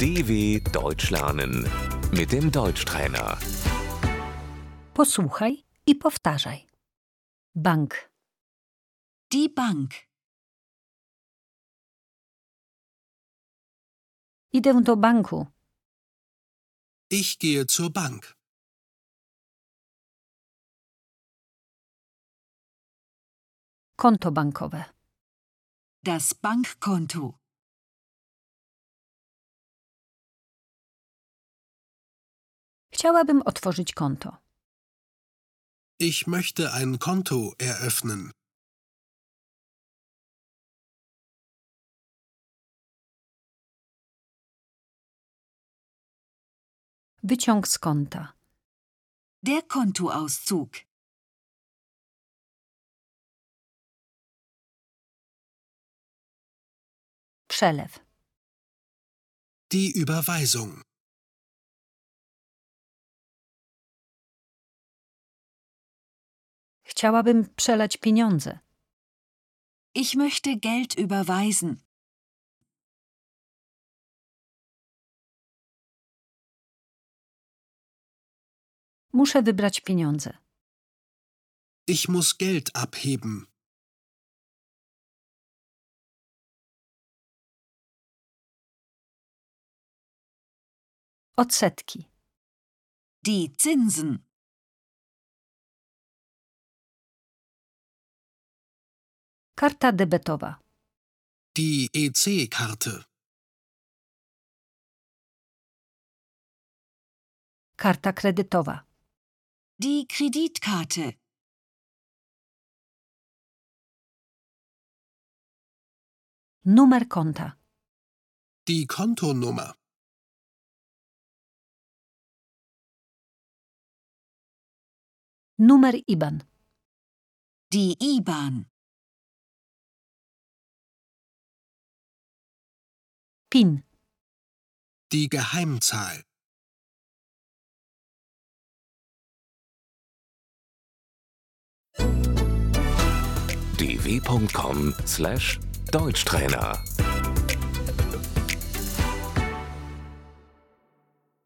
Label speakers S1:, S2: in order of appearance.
S1: DW Deutsch lernen mit dem Deutschtrainer.
S2: Posłuchaj i powtarzaj. Bank,
S3: Die Bank.
S2: idę do banku,
S4: Ich gehe zur Bank.
S2: konto bankowe,
S3: Das Bankkonto.
S2: chciałabym otworzyć konto,
S4: Ich möchte ein Konto eröffnen.
S2: wyciąg z konta,
S3: Der Kontoauszug.
S2: przelew,
S4: Die Überweisung.
S2: chciałabym przelać pieniądze,
S3: Ich möchte Geld überweisen.
S2: muszę wybrać pieniądze,
S4: Ich muss Geld abheben.
S2: odsetki,
S3: Die Zinsen.
S2: karta debetowa,
S4: Die E EC-Karte.
S2: karta kredytowa,
S3: Die Kreditkarte.
S2: numer konta,
S4: Die Kontonummer.
S2: numer IBAN,
S3: Die IBAN.
S2: PIN,
S4: Die Geheimzahl.
S1: dw.com/deutschtrainer